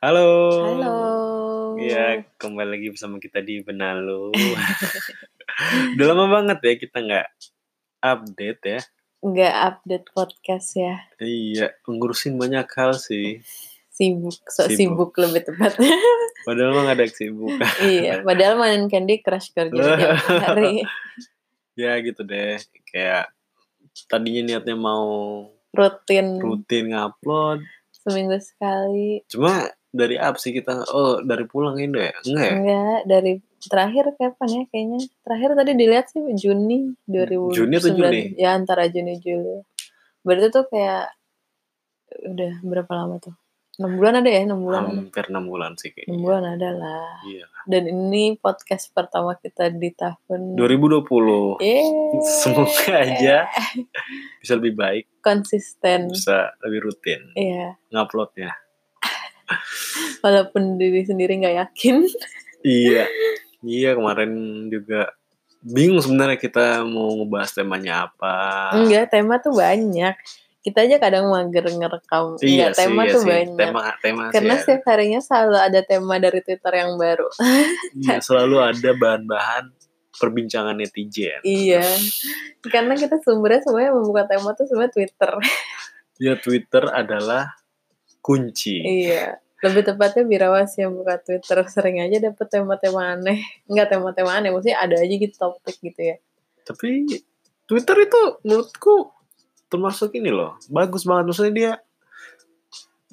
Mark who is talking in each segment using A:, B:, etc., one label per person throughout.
A: Halo.
B: Halo.
A: Ya, kembali lagi bersama kita di Benalu. Udah lama banget ya kita nggak update ya.
B: Nggak update podcast ya.
A: Iya, ngurusin banyak hal sih.
B: Sibuk, sok
A: Sibuk.
B: sibuk, lebih tepatnya.
A: Padahal mah nggak ada kesibukan.
B: iya, padahal main Candy Crush kerja tiap hari.
A: Ya gitu deh. Kayak tadinya niatnya mau
B: Rutin
A: rutin ngupload.
B: seminggu sekali.
A: Cuma dari up sih kita. Oh, dari pulang Indo ya? Enggak ya?
B: Enggak, dari terakhir kapan ya kayaknya? Terakhir tadi dilihat sih Juni 2019.
A: Juni atau Juli?
B: Ya, antara Juni Juli. Berarti tuh kayak udah berapa lama tuh? 6 bulan ada ya? 6 bulan. ada.
A: Hampir 6 bulan sih
B: Enam
A: kayaknya.
B: bulan ada lah.
A: Iya.
B: Dan ini podcast pertama kita di tahun
A: 2020.
B: Yeay.
A: Semoga
B: Eh,
A: aja bisa lebih baik,
B: konsisten.
A: bisa lebih rutin
B: Iya,
A: nguploadnya.
B: walaupun diri sendiri nggak yakin.
A: Iya, iya kemarin juga bingung sebenarnya kita mau ngebahas temanya apa.
B: Enggak, tema tuh banyak. Kita aja kadang mager ngerekam. Enggak,
A: Iya sih,
B: ya, tema
A: iya
B: tuh
A: sih.
B: banyak.
A: Tema, tema sih iya. ya.
B: Karena
A: ada.
B: setiap harinya selalu ada tema dari Twitter yang baru.
A: Iya, selalu ada bahan-bahan perbincangan netizen.
B: iya. Karena kita sumbernya semuanya membuka tema tuh sebenarnya Twitter.
A: Ya Twitter adalah kunci.
B: iya. Lebih tepatnya Birawas yang buka Twitter sering aja dapet tema-tema aneh. Enggak tema-tema aneh, maksudnya ada aja gitu topik gitu ya.
A: Tapi Twitter itu menurutku termasuk ini loh, bagus banget maksudnya dia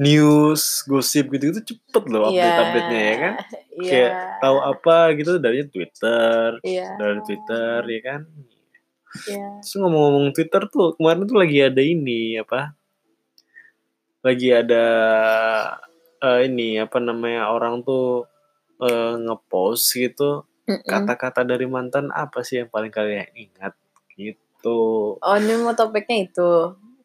A: news, gosip gitu-gitu cepet loh update-update-nya ya kan.
B: Iya.
A: Kayak Tahu apa gitu dari Twitter,
B: Iya.
A: dari Twitter ya kan.
B: Iya.
A: Terus ngomong-ngomong Twitter tuh kemarin tuh lagi ada ini apa? Lagi ada eh, ini apa namanya orang tuh eh, ngepost gitu
B: Hmm. Mm-mm.
A: kata-kata dari mantan apa sih yang paling kalian ingat gitu.
B: Oh ini mau topiknya itu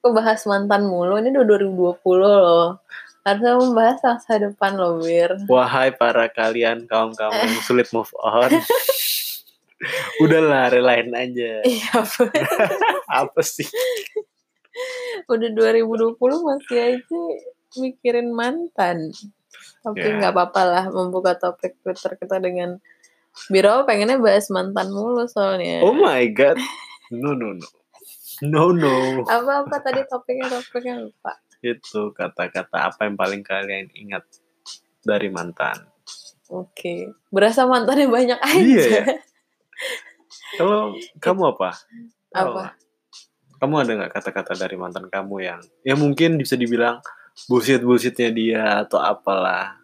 B: Aku bahas mantan mulu Ini udah 2020 loh Harusnya membahas masa depan loh Wir
A: Wahai para kalian kaum-kaum yang sulit move on. Udahlah relain aja.
B: Iya Vir.
A: Apa sih?
B: Udah 2020 masih aja Mikirin mantan Tapi
A: Ya.
B: nggak apa-apa lah Membuka topik Twitter kita dengan Biro pengennya bahas mantan mulu soalnya
A: Oh my god. No no no. No no.
B: Apa-apa tadi topiknya Topiknya lupa
A: itu kata-kata apa yang paling kalian ingat dari mantan
B: Oke Berasa mantannya banyak aja
A: Iya ya. kalau kamu apa Kamu
B: Apa?
A: kamu ada nggak kata-kata dari mantan kamu yang ya mungkin bisa dibilang bullshit bullshitnya dia atau apalah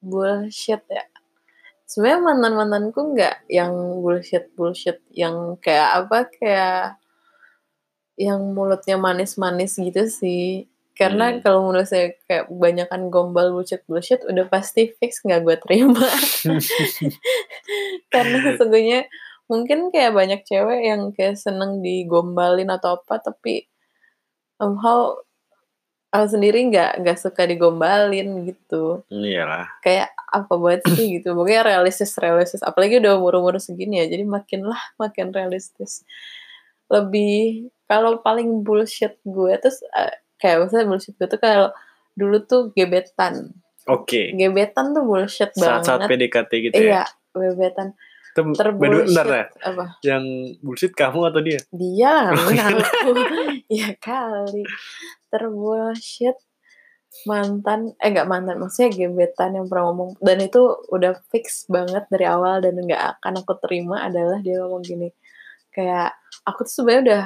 B: bullshit ya sebenarnya mantan mantanku nggak yang bullshit bullshit yang kayak apa kayak yang mulutnya manis manis gitu sih karena
A: Hmm.
B: kalau menurut saya kayak kebanyakan gombal bullshit bullshit udah pasti fix nggak gue terima karena sesungguhnya mungkin kayak banyak cewek yang kayak seneng digombalin atau apa tapi somehow aku sendiri nggak nggak suka digombalin gitu
A: iyalah
B: kayak apa banget sih gitu pokoknya realistis realistis apalagi udah umur umur segini ya jadi makin lah makin realistis lebih kalau paling bullshit gue terus eh, kayak maksudnya bullshit gue tuh kalau dulu tuh gebetan
A: oke
B: gebetan tuh bullshit
A: Iya. saat-saat
B: banget
A: PDKT gitu ya
B: iya gebetan
A: Tem- by the way,
B: terbullshit
A: bentar ya
B: apa
A: yang bullshit kamu atau dia
B: dia lah
A: Oh, iya.
B: nggak mengenal aku ya kali terbullshit mantan eh nggak mantan maksudnya gebetan yang pernah ngomong dan itu udah fix banget dari awal dan nggak akan aku terima adalah dia ngomong gini kayak aku tuh sebenarnya udah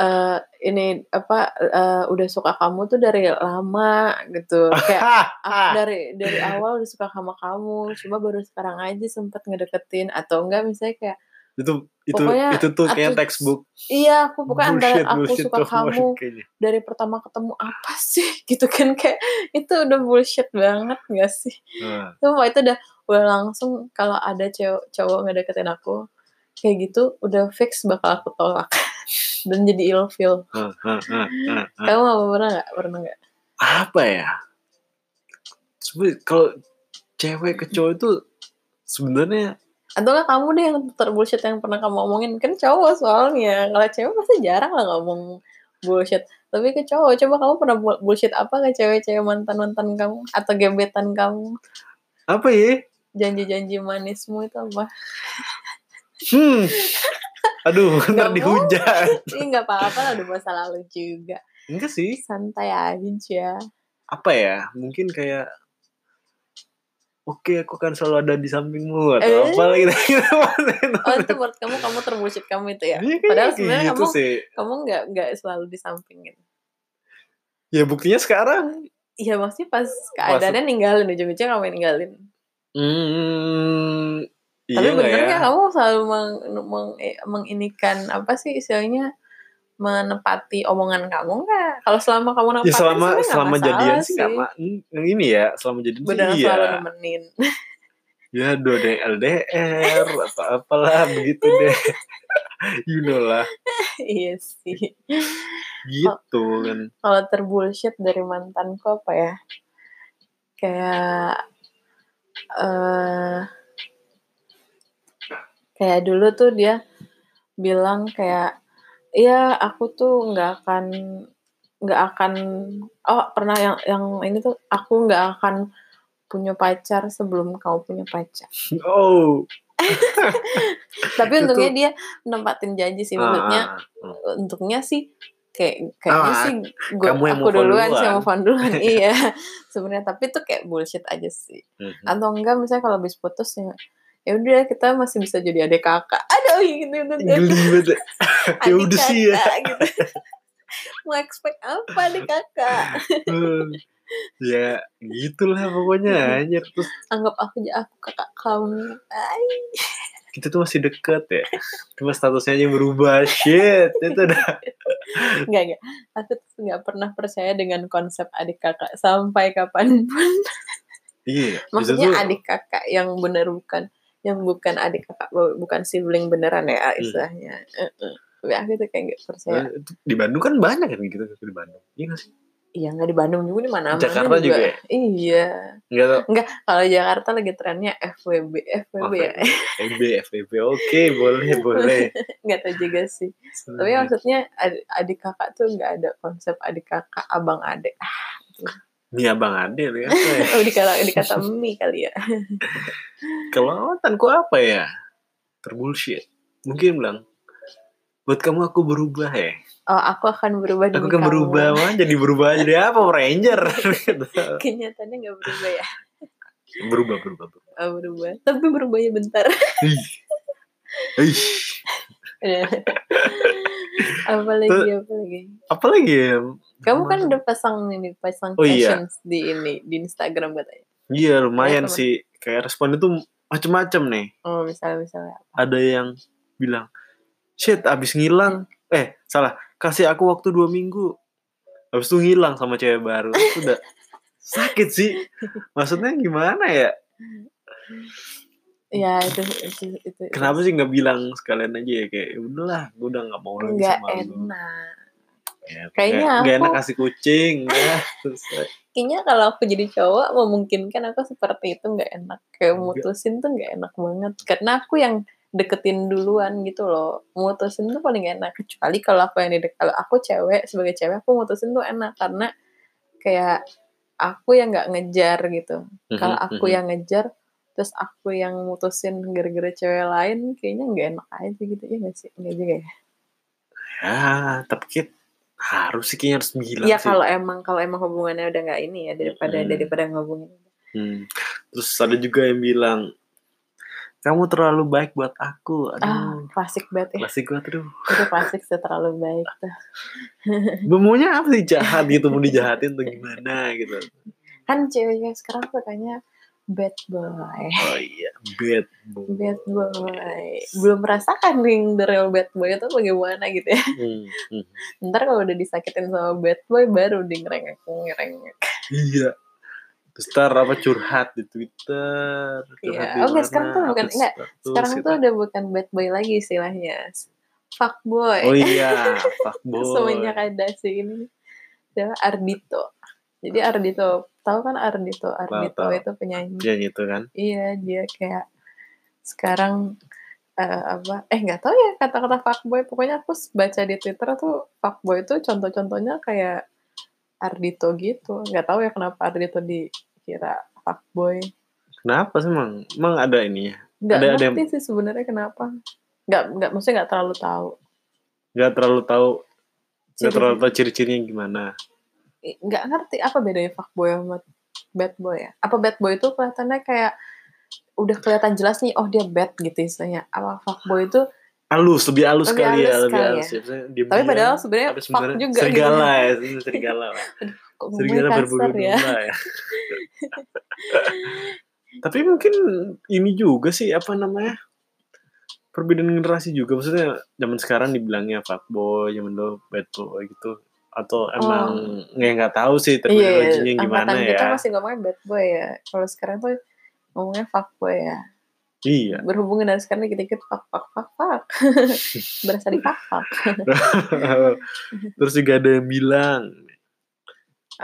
B: eh, ini apa eh, udah suka kamu tuh dari lama gitu kayak Ah, dari dari awal udah suka sama kamu cuma baru sekarang aja sempet ngedeketin atau enggak misalnya kayak
A: itu itu
B: Pokoknya
A: itu tuh kayak
B: aku-
A: textbook
B: iya aku pokoknya antara
A: bullshit
B: aku
A: bullshit
B: suka
A: kamu
B: kamu
A: kayaknya.
B: dari pertama ketemu apa sih gitu kan kayak itu udah bullshit banget gak sih
A: Nah,
B: semua itu udah udah langsung kalau ada cowok cowok ngedeketin aku kayak gitu udah fix bakal aku tolak dan jadi ilfeel
A: ah, ah, ah, ah, ah.
B: kamu apa pernah nggak pernah nggak
A: apa ya Sebe- kalau cewek ke cowok itu sebenarnya
B: atau nggak kamu deh yang terbullshit yang pernah kamu omongin kan cowok soalnya kalau cewek pasti jarang lah ngomong bullshit tapi ke cowok coba kamu pernah bu- bullshit apa ke cewek-cewek mantan mantan kamu atau gebetan kamu
A: Apa ya?
B: janji-janji manismu itu apa
A: Hmm. Aduh, ntar
B: Nggak
A: dihujat.
B: Ih, nggak apa-apa lah udah masa lalu juga
A: Enggak sih.
B: santai aja
A: Apa ya? Mungkin kayak Oke, aku akan selalu ada di sampingmu atau
B: Eh.
A: apa lagi gitu.
B: oh itu buat kamu kamu terbullshit kamu itu ya
A: Iya, kayak
B: Padahal sebenarnya
A: gitu
B: kamu-
A: sih.
B: kamu nggak nggak selalu di samping gitu
A: Ya buktinya sekarang.
B: Iya maksudnya pas keadaannya ninggalin ujung-ujungnya kamu yang ninggalin.
A: Hmm.
B: Tapi
A: iya nggak
B: bener
A: ya?
B: nggak kamu selalu meng, meng, eh, menginikan apa sih istilahnya menepati omongan kamu nggak? Kalau selama kamu
A: Ya
B: nempatin
A: selama
B: sebenarnya nggak
A: selama
B: masalah
A: jadian sih nggak ma- yang ini ya selama jadian sih
B: Beneran
A: iya
B: selalu nemenin.
A: ya dua d LDR apa apalah begitu deh you know lah
B: iya sih.
A: gitu
B: Oh.
A: kan
B: Kalau terbullshit dari mantanku apa ya? Kayak eh kayak dulu tuh dia bilang kayak iya aku tuh nggak akan nggak akan oh pernah yang yang ini tuh aku nggak akan punya pacar sebelum kau punya pacar
A: oh
B: tapi
A: Itu
B: untungnya dia nempatin janji sih Ya, maksudnya
A: ah,
B: untungnya sih kayak kayaknya
A: Ah,
B: sih gua,
A: kamu yang
B: aku
A: move on
B: duluan sih
A: duluan.
B: mau duluan iya sebenarnya tapi itu kayak bullshit aja sih
A: mhm.
B: atau enggak misalnya kalau habis putus ya ya udah kita masih bisa jadi adik kakak aduh gitu gitu, gitu.
A: geli banget ya
B: Adik
A: udah sih ya
B: kakak, gitu. mau expect apa adik kakak
A: Hmm. ya gitulah pokoknya
B: Hmm.
A: anjir terus
B: anggap aku aja aku kakak kamu Ay,
A: kita tuh masih deket ya cuma statusnya aja yang berubah shit itu udah
B: enggak enggak aku tuh nggak pernah percaya dengan konsep adik kakak sampai kapanpun
A: iya itu
B: maksudnya
A: tuh-
B: adik ya? kakak yang bener bukan yang bukan adik kakak bu- bukan sibling beneran ya
A: Hmm.
B: istilahnya Heeh. Tapi aku tuh kayak nggak percaya
A: Eh, itu di Bandung kan banyak kan gitu di Bandung iya nggak sih
B: iya nggak di Bandung juga di mana
A: Jakarta juga ya?
B: iya
A: nggak tau
B: kalau Jakarta lagi trennya FWB FWB ya
A: FB, FB, oke boleh boleh.
B: nggak tahu juga sih tapi
A: Hmm.
B: maksudnya adik, adik kakak tuh nggak ada konsep adik kakak abang adik
A: Ini Hmm. abang Adil ya. apa ya?
B: oh dikata dikata mi kali ya
A: Kelawatanku apa ya? Terbullshit. Mungkin bilang, buat kamu aku berubah ya.
B: oh aku akan berubah
A: Aku
B: demi
A: kan
B: kamu.
A: berubah, mah jadi berubah jadi apa Ranger? Gitu.
B: kenyataannya nggak berubah ya
A: berubah berubah. berubah.
B: oh, berubah tapi berubahnya bentar
A: Ih. Ih.
B: apa lagi apa lagi
A: Apa lagi ya?
B: kamu kan udah pasang ini pasang
A: Oh, iya.
B: captions di ini di Instagram katanya
A: Iya lumayan
B: Iya, teman.
A: sih. Kayak respon itu macem-macem nih.
B: oh misalnya misalnya
A: ada yang bilang shit abis ngilang eh salah kasih aku waktu dua minggu abis itu ngilang sama cewek baru itu udah sakit sih maksudnya gimana ya
B: ya itu itu, itu, itu.
A: kenapa sih nggak bilang sekalian aja ya kayak "Ya udahlah gue udah nggak mau lagi
B: nggak
A: sama lu
B: enak
A: Ya,
B: Kayaknya
A: nggak- nggak
B: aku-
A: enak kasih kucing ya Terus, eh,
B: kayaknya kalau aku jadi cowok memungkinkan aku seperti itu nggak enak kayak
A: Nggak.
B: mutusin tuh nggak enak banget karena aku yang deketin duluan gitu loh mutusin tuh paling enak kecuali kalau aku yang didek kalau aku cewek sebagai cewek aku mutusin tuh enak karena kayak aku yang nggak ngejar gitu kalau
A: mhm,
B: aku
A: mhm.
B: yang ngejar terus aku yang mutusin gara-gara cewek lain kayaknya nggak enak aja gitu ya nggak sih nggak juga ya
A: ya tapi kayak harus sih kayaknya harus bilang
B: iya
A: sih.
B: kalau emang kalau emang hubungannya udah nggak ini ya daripada
A: Hmm.
B: daripada ngomongin
A: Hmm. terus ada juga yang bilang kamu terlalu baik buat aku
B: ah
A: aduh
B: klasik banget ya
A: masih gue aduh
B: itu klasik sih terlalu baik tuh
A: Maunya apa sih jahat gitu mau dijahatin atau gimana gitu.
B: kan ceweknya sekarang tuh kayaknya bad boy
A: Oh iya, bad boy.
B: bad boy belum merasakan ring the real bad boy itu bagaimana gitu ya
A: Hmm, hmm.
B: ntar kalau udah disakitin sama bad boy baru di ngerengek ngerengek
A: Iya. Terus ntar apa curhat di Twitter. curhat
B: Iya.
A: di
B: Oh, enggak, sekarang tuh
A: mana,
B: bukan-
A: update
B: enggak,
A: status
B: sekarang
A: gitu.
B: tuh udah bukan bad boy lagi istilahnya fuck boy
A: Oh iya, fuck boy.
B: ya. semenjak kan. ada si ini siapa Ardito jadi Ardito tahu kan Ardito Ardito
A: tahu.
B: itu penyanyi
A: Ya gitu kan.
B: iya dia kayak sekarang eh, apa eh nggak tahu ya kata-kata fuckboy pokoknya aku s- baca di twitter tuh fuckboy tuh contoh-contohnya kayak Ardito gitu nggak tahu ya kenapa Ardito dikira fuckboy
A: Kenapa sih emang? Emang ada ini ya?
B: nggak
A: Ada- ada
B: ngerti sih sebenarnya kenapa nggak nggak maksudnya nggak terlalu tahu
A: Gak terlalu tahu, gak
B: Ciri-
A: terlalu tahu ciri-cirinya gimana.
B: i- nggak ngerti apa bedanya fuckboy sama bad boy ya apa bad boy itu kelihatannya kayak udah kelihatan jelas nih oh dia bad gitu istilahnya apa fuckboy itu
A: Halus, lebih halus
B: Lebih
A: kali ya,
B: halus
A: lebih
B: kali
A: halus. Ya. Maksudnya dia
B: tapi
A: diam,
B: padahal sebenarnya
A: tapi
B: fuck
A: sebenarnya
B: juga
A: serigala
B: gitu.
A: ya, sebenarnya serigala. lah.
B: Kok ngomongnya
A: serigala berbulu
B: kasar ya
A: domba ya. Tapi mungkin ini juga sih apa namanya? Perbedaan generasi juga maksudnya zaman sekarang dibilangnya fuckboy, zaman dulu bad boy gitu atau emang nggak nggak tahu sih
B: Oh. iya
A: terminologinya gimana
B: angkatan
A: ya.
B: kita masih ngomongnya bad boy ya kalau sekarang tuh ngomongnya fuckboy ya
A: Iya.
B: berhubungan dari sekarang dikit-dikit fuck fuck fuck fuck berasa di fuck fuck
A: Terus juga ada yang bilang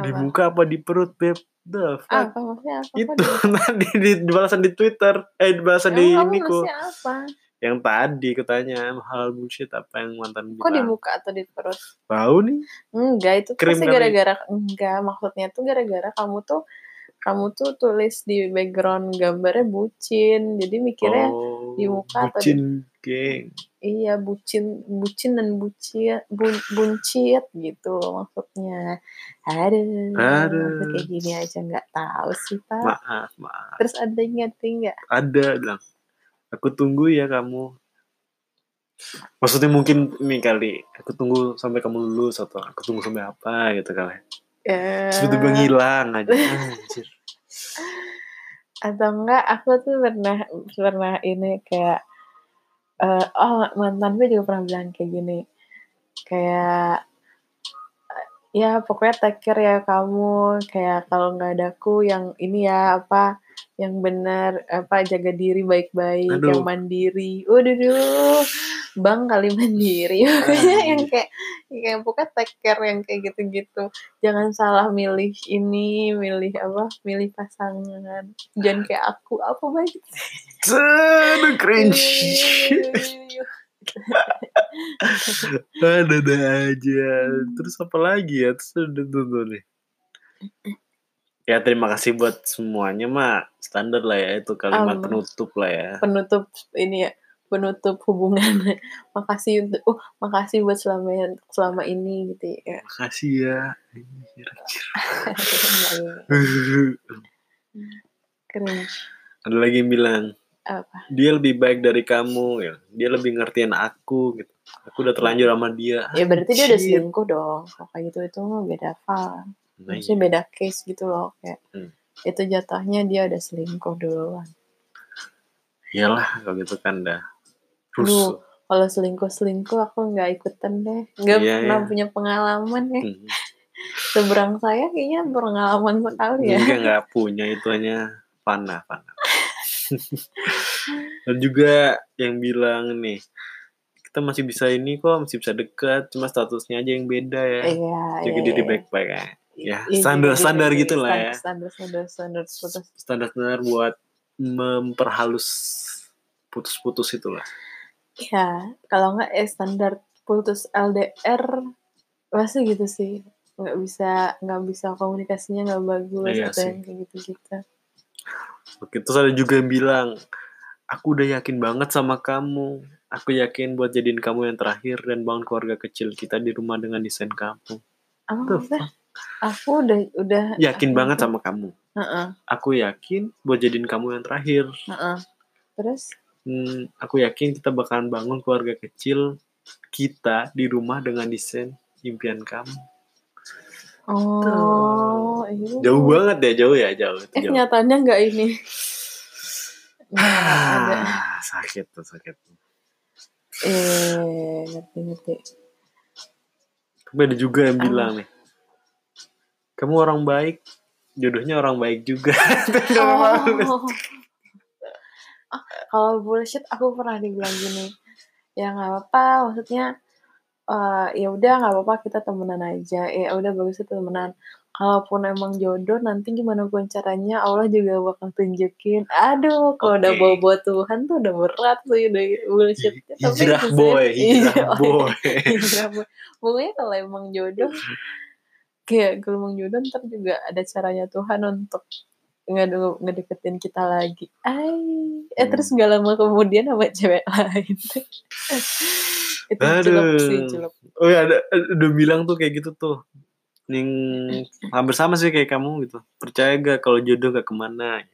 A: di
B: apa,
A: muka apa di perut beb the fuck
B: Ah, apa maksudnya apa
A: itu tadi di, di balasan di Twitter eh di balasan di
B: kamu
A: Niko
B: maksudnya apa
A: yang tadi katanya hal bullshit apa yang mantan
B: kok di
A: bilang
B: muka atau di perut
A: tahu nih
B: Enggak, itu
A: Krim
B: pasti
A: kali.
B: gara-gara enggak, maksudnya tuh gara-gara kamu tuh kamu tuh tulis di background gambarnya bucin. Jadi mikirnya
A: oh,
B: di muka atau di-
A: bucin geng
B: iya bucin, bucin dan bucin bun, buncit gitu loh maksudnya. Aduh.
A: Aduh.
B: masa Kayak gini aja nggak tahu sih, Pak.
A: maaf maaf
B: Terus ada yang ngerti nggak?
A: ada bilang aku tunggu ya kamu maksudnya mungkin nih kali aku tunggu sampai kamu lulus atau aku tunggu sampai apa gitu kali
B: Eh,
A: sebetulnya ngilang aja Anjir.
B: atau enggak aku tuh pernah pernah ini kayak eh, oh mantan gue juga pernah bilang kayak gini kayak eh, ya pokoknya take care ya kamu kayak kalau nggak ada aku yang ini ya apa yang benar apa jaga diri baik-baik
A: Aduh.
B: yang mandiri waduh duh, bang kali mandiri pokoknya yang kayak yang pokoknya take care yang kayak gitu-gitu jangan salah milih ini milih apa milih pasangan jangan kayak aku apa baik
A: Aduh, cringe
B: Iya.
A: ada ada aja terus apa lagi ya terus udah tuh, tuh nih ya terima kasih buat semuanya mak standar lah ya itu kalimat
B: Aman.
A: penutup lah ya
B: penutup ini ya penutup hubungan makasih untuk oh makasih buat selama selama ini gitu ya
A: makasih ya Anjir, anjir.
B: keren
A: ada lagi yang bilang
B: apa
A: dia lebih baik dari kamu ya dia lebih ngertiin aku gitu aku udah terlanjur sama dia
B: ya berarti dia udah
A: Anjir.
B: selingkuh dong kalau kayak gitu itu mah beda file
A: Nah,
B: maksudnya beda case gitu loh kayak
A: Hmm.
B: itu jatuhnya dia udah selingkuh duluan
A: iyalah kalau gitu kan dah
B: Lu
A: rusuh
B: kalau selingkuh selingkuh aku nggak ikutan deh nggak
A: Iya,
B: pernah
A: iya.
B: punya pengalaman ya
A: Hmm.
B: seberang saya kayaknya pengalaman sekali ya
A: Enggak nggak punya itu hanya panah panah. Dan juga yang bilang nih kita masih bisa ini kok masih bisa dekat cuma statusnya aja yang beda ya.
B: iya
A: Jaga
B: iya,
A: diri
B: iya.
A: baik-baik ya. Ya,
B: Iya,
A: standar-standar
B: jadi-
A: gitu lah ya.
B: standar standar standar standar
A: Standar standar buat memperhalus putus-putus itulah.
B: ya kalau nggak eh standar putus LDR pasti gitu sih nggak bisa nggak bisa komunikasinya nggak bagus
A: Iya
B: atau
A: sih.
B: yang kayak gitu gitu
A: Oke, terus ada juga yang bilang aku udah yakin banget sama kamu. Aku yakin buat jadiin kamu yang terakhir dan bangun keluarga kecil kita di rumah dengan desain kampung.
B: apa
A: Tuh,
B: maksudnya? aku udah udah
A: Yakin banget sama kamu.
B: Heeh,
A: aku yakin buat jadiin kamu yang terakhir.
B: heeh. terus
A: Hmm, aku yakin kita bakalan bangun keluarga kecil kita di rumah dengan desain impian kamu.
B: oh iya.
A: Jauh banget ya, jauh ya, jauh. Itu
B: eh
A: jauh.
B: nyatanya nggak ini Nggak ada
A: Ah, sakit tuh, sakit. tuh.
B: eh ngerti ngerti
A: Tapi ada juga yang bilang nih, kamu orang baik, jodohnya orang baik juga. Itu nggak apa-apa.
B: Oh. Ah, kalau bullshit aku pernah dibilang gini ya nggak apa-apa maksudnya eh, ya udah nggak apa-apa kita temenan aja ya udah bagus itu temenan kalaupun emang jodoh nanti gimana pun caranya Allah juga bakal tunjukin aduh kalau udah
A: Oke.
B: bawa bawa Tuhan tuh udah berat sih udah bullshit iya,
A: Hijrah boy, Iya,
B: oh,
A: oh, hijrah boy.
B: hijrah boy pokoknya kalau emang jodoh kayak kalau emang jodoh ntar juga ada caranya Tuhan untuk nggak dulu ngedeketin kita lagi Ay.
A: Hmm.
B: eh terus nggak lama kemudian sama cewek lain itu celup sih
A: Aduh.
B: celup
A: Oh ya, ada, udah bilang tuh kayak gitu tuh. Ning hampir sama sih kayak kamu gitu. Percaya gak kalau jodoh gak kemana?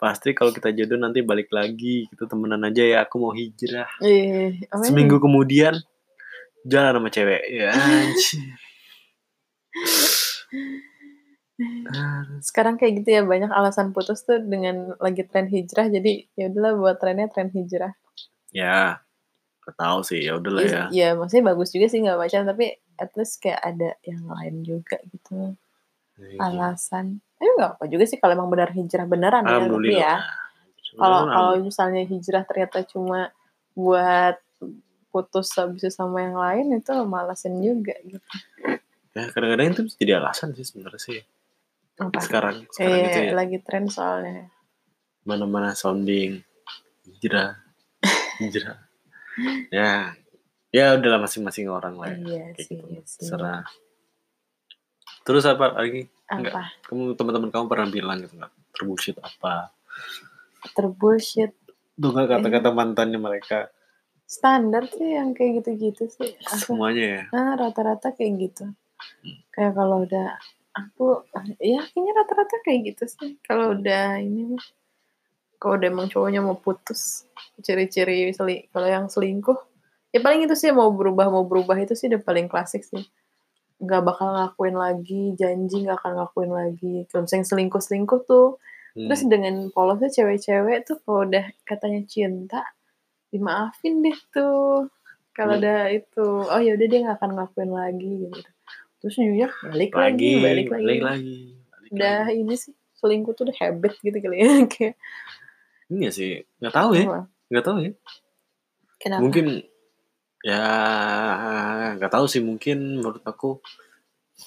A: Pasti kalau kita jodoh nanti balik lagi. Kita temenan aja ya. Aku mau hijrah.
B: Ih, apa ini?
A: Seminggu kemudian jalan sama cewek. Ya anjir.
B: sekarang kayak gitu ya banyak alasan putus tuh dengan lagi tren hijrah jadi ya udahlah buat trennya tren hijrah
A: ya, gak tahu sih. Ya udahlah ya.
B: Is- ya maksudnya bagus juga sih nggak pacaran tapi at least kayak ada yang lain juga gitu
A: gitu.
B: alasan tapi nggak apa juga sih kalau emang benar hijrah beneran ya tapi ya
A: Alhamdulillah.
B: kalau kalau misalnya hijrah ternyata cuma buat putus habis itu sama yang lain itu malasin juga gitu
A: ya kadang-kadang itu bisa jadi alasan sih sebenarnya sih
B: apa
A: sekarang sekarang
B: Iya,
A: itu ya Iya,
B: lagi tren soalnya
A: mana-mana sounding hijrah hijrah ya ya udahlah masing-masing orang lah ya
B: iya
A: kayak
B: sih,
A: gitu
B: iya sih.
A: serah terus apa lagi Enggak.
B: apa
A: kamu teman-teman kamu pernah bilang gitu nggak terbullshit apa
B: terbullshit
A: tuh nggak kata-kata mantannya mereka
B: standar sih yang kayak gitu-gitu sih Aku-
A: semuanya ya
B: nah rata-rata kayak gitu kayak kalau udah aku ya kayaknya rata-rata kayak gitu sih kalau udah ini mah kalau udah emang cowoknya mau putus ciri-ciri seli- kalau yang selingkuh ya paling itu sih mau berubah mau berubah itu sih udah paling klasik sih nggak bakal ngakuin lagi janji nggak akan ngakuin lagi kalau misalnya selingkuh selingkuh tuh
A: Hmm.
B: Terus dengan polosnya cewek-cewek tuh kalau udah katanya cinta, dimaafin deh tuh. Kalau
A: Hmm.
B: udah itu, oh ya udah dia nggak akan ngelakuin lagi gitu. Terus jadinya balik lagi,
A: lagi
B: balik lagi.
A: balik lagi balik
B: Udah
A: lagi.
B: ini sih selingkuh tuh udah habit gitu kali ya kayak.
A: Iya sih nggak tahu ya
B: wah,
A: nggak tahu ya
B: Kenapa?
A: mungkin ya nggak tahu sih mungkin menurut aku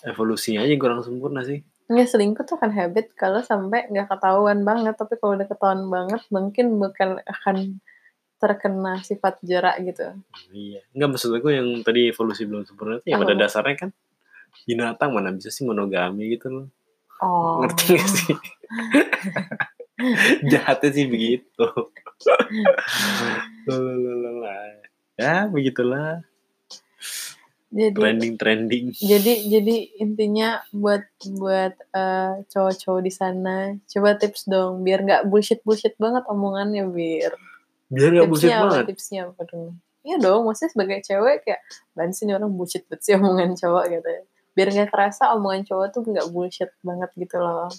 A: evolusinya aja yang kurang sempurna sih
B: Nggak, selingkuh tuh akan habit kalau sampai nggak ketahuan banget, tapi kalau udah ketahuan banget mungkin bukan akan terkena sifat jerak gitu.
A: iya nggak maksud aku yang tadi evolusi belum sempurna itu yang pada
B: Apa?
A: dasarnya kan binatang mana bisa sih monogami gitu loh
B: Oh.
A: ngerti gak sih jahatnya sih begitu Lalalala. ya begitulah
B: Jadi
A: trending trending
B: jadi jadi intinya buat buat eh, cowok-cowok di sana coba tips dong biar nggak bullshit bullshit banget omongannya bir
A: biar nggak buset Iya,
B: tipsnya apa
A: banget
B: tipsnya apa dong Iya dong, maksudnya sebagai cewek kayak ban sih ini orang bullshit banget sih omongan cowok gitu. Biar nggak kerasa omongan cowok tuh nggak bullshit banget gitu loh.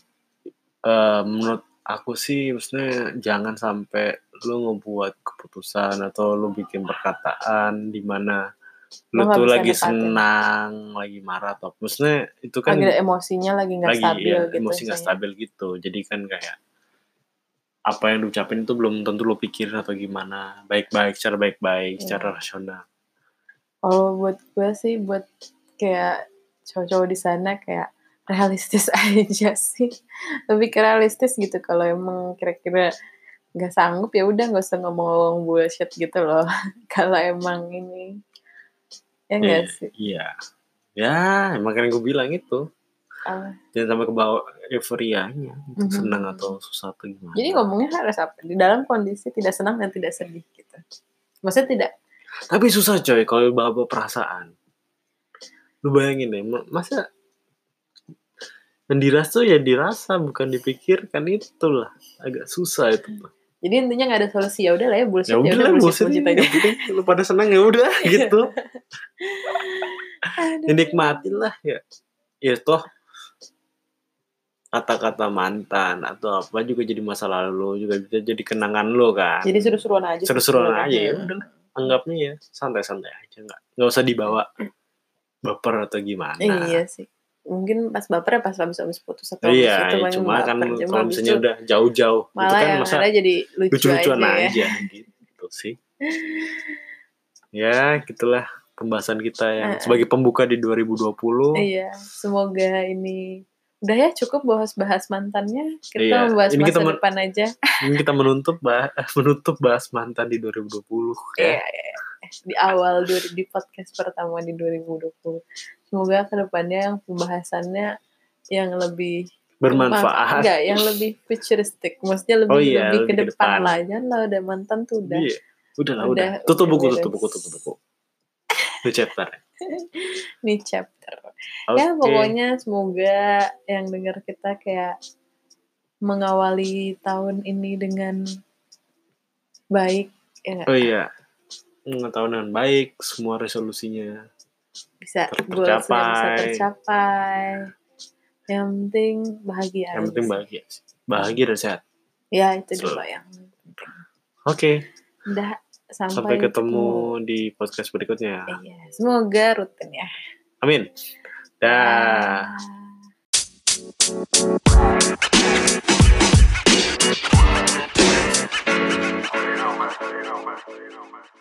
A: Eh, menurut aku sih maksudnya jangan sampai lu ngebuat keputusan atau lu bikin perkataan di mana lu
B: Lu nggak
A: tuh
B: bisa
A: lagi
B: nempatin.
A: senang, lagi marah atau maksudnya itu kan
B: lagi emosinya lagi nggak
A: lagi
B: stabil
A: ya,
B: gitu.
A: emosi nggak
B: misalnya.
A: stabil gitu. Jadi kan kayak apa yang lu ucapin itu belum tentu lu pikirin atau gimana. Baik-baik, secara baik-baik,
B: Iya.
A: secara rasional.
B: Kalau buat gue sih buat kayak cowok-cowok di sana kayak realistis aja sih. Lebih ke realistis gitu kalau emang kira-kira nggak sanggup ya udah nggak usah ngomong bullshit gitu loh. kalau emang ini ya enggak sih.
A: Iya. Ya, emang kan gue bilang itu.
B: Apa?
A: Jangan sampai ke bawah euforianya,
B: Mhm.
A: senang atau susah atau gimana.
B: Jadi ngomongnya harus apa? Di dalam kondisi tidak senang dan tidak sedih gitu. Maksudnya tidak
A: Tapi susah coy kalau bawa perasaan. Lu bayangin deh, ma- masa yang dirasa ya dirasa bukan dipikirkan itulah agak susah itu Pak.
B: jadi intinya nggak ada solusi ya udah lah ya bullshit
A: ya udah lah
B: bullshit,
A: bosan
B: bullshit aja.
A: yang penting lu pada senang ya udah gitu
B: Aduh.
A: dinikmatin lah ya ya toh kata-kata mantan atau apa juga jadi masa lalu lu, juga bisa jadi kenangan lo kan
B: Jadi kan. seru-seruan aja. sih
A: seru-seruan
B: sebenarnya.
A: aja ya udah lah. anggapnya ya santai-santai aja nggak nggak usah dibawa baper atau gimana
B: Iya sih. Mungkin pas baper ya pas habis habis putus atau habis
A: Iya,
B: itu
A: ya,
B: paling
A: cuma kan
B: baper. Cuma
A: kalau
B: habis
A: misalnya
B: itu
A: udah jauh-jauh itu
B: gitu. malah ya,
A: kan
B: yang
A: masa
B: ada jadi lucu,
A: lucu-lucuan
B: aja.
A: aja,
B: ya.
A: gitu sih. Ya, gitulah pembahasan kita yang
B: Eh, eh.
A: sebagai pembuka di 2020.
B: Iya, semoga ini Udah ya cukup bahas-bahas mantannya. Kita
A: Iya,
B: membahas
A: ini
B: masa
A: kita men-
B: depan aja.
A: Ini kita menutup bah menutup bahas mantan di 2020 ya.
B: Iya, iya. Di awal du- di podcast pertama di 2020. Semoga kedepannya pembahasannya yang lebih
A: Bermanfaat.
B: enggak yang lebih futuristik maksudnya lebih
A: Oh iya,
B: lebih ke
A: lebih ke
B: depan
A: depan.
B: lah jangan lah udah mantan tuh udah
A: Iya. Udah lah,
B: Udah,
A: udah. Tutup
B: udah
A: buku,
B: beres.
A: tutup buku, tutup buku. Di chapter.
B: nih chapter
A: Oke.
B: ya pokoknya semoga yang dengar kita kayak mengawali tahun ini dengan baik ya nggak?
A: Oh iya. Mengetahui dengan baik semua resolusinya.
B: bisa
A: Ter-
B: goals yang bisa
A: tercapai.
B: tercapai yang penting bahagia
A: Yang penting bahagia. sih. Bahagia dan sehat.
B: ya itu
A: So.
B: dulu yang
A: Oke,
B: udah sampai,
A: sampai ketemu di podcast berikutnya.
B: ketemu. Iya, semoga rutin ya
A: Amin. Dah.
B: Dah.
C: You know, man. You know, man. You know, man.